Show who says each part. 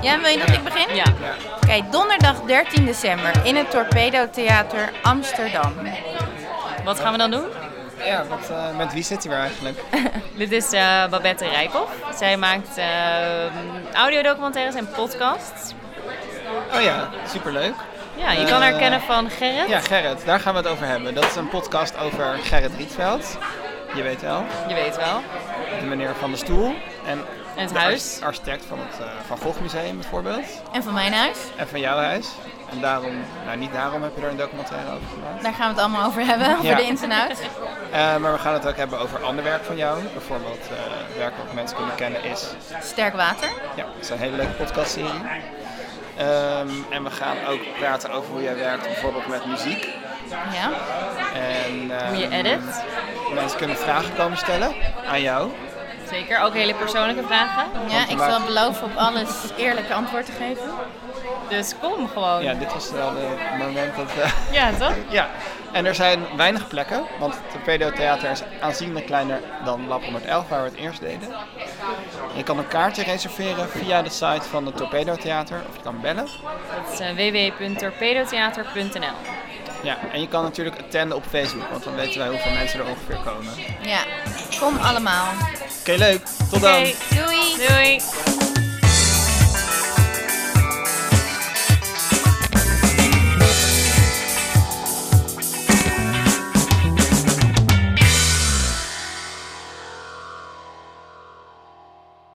Speaker 1: Ja, wil je dat ik begin?
Speaker 2: Ja.
Speaker 1: Oké, donderdag 13 december in het Torpedo Theater Amsterdam.
Speaker 2: Wat gaan we dan doen?
Speaker 3: Ja, wat, eh, met wie zit hij weer eigenlijk?
Speaker 2: Dit is eh, Babette Rijkoff. Zij maakt eh, audiodocumentaires en podcasts.
Speaker 3: Oh ja, superleuk.
Speaker 2: Ja, je kan haar
Speaker 3: Eh,
Speaker 2: kennen van Gerrit.
Speaker 3: Ja, Gerrit, daar gaan we het over hebben. Dat is een podcast over Gerrit Rietveld. Je weet wel,
Speaker 2: Je weet wel.
Speaker 3: de meneer van de stoel. En
Speaker 2: En het
Speaker 3: de
Speaker 2: huis.
Speaker 3: ar- architect van het eh, Van Gogh Museum bijvoorbeeld.
Speaker 1: En van mijn huis,
Speaker 3: En van jouw huis. En daarom, nou niet daarom heb je er een documentaire over gemaakt.
Speaker 1: daar gaan we het allemaal over hebben, over
Speaker 3: Ja.
Speaker 1: de ins en outs.
Speaker 3: Eh, maar we gaan het ook hebben over ander werk van jou. Bijvoorbeeld eh, werk wat mensen kunnen kennen is
Speaker 1: Sterk water.
Speaker 3: Ja, het is een hele leuke podcastserie. Ehm, en we gaan ook praten over hoe jij werkt, bijvoorbeeld met muziek.
Speaker 1: Ja.
Speaker 3: En,
Speaker 2: Hoe je
Speaker 3: ehm,
Speaker 2: edit.
Speaker 3: Mensen kunnen vragen komen stellen aan jou.
Speaker 2: Zeker, ook hele persoonlijke vragen.
Speaker 1: ja, ik zal beloven op alles eerlijk antwoord te geven.
Speaker 2: Dus kom gewoon.
Speaker 3: Ja,
Speaker 2: Ja,
Speaker 3: dit was wel het moment dat... eh,
Speaker 2: toch?
Speaker 3: ja, en er zijn weinig plekken, want het Torpedo Theater is aanzienlijk kleiner dan Lab 111, waar we het eerst deden. Je kan een kaartje reserveren via de site van het Torpedo Theater, of je kan bellen.
Speaker 2: Dat is eh, www.torpedotheater.nl
Speaker 3: Ja, en je kan natuurlijk attenden op Facebook, want dan weten wij hoeveel mensen er ongeveer komen. Oké,
Speaker 1: Ja, kom allemaal.
Speaker 3: leuk. Tot dan.
Speaker 2: Oké,
Speaker 1: Doei!
Speaker 2: doei!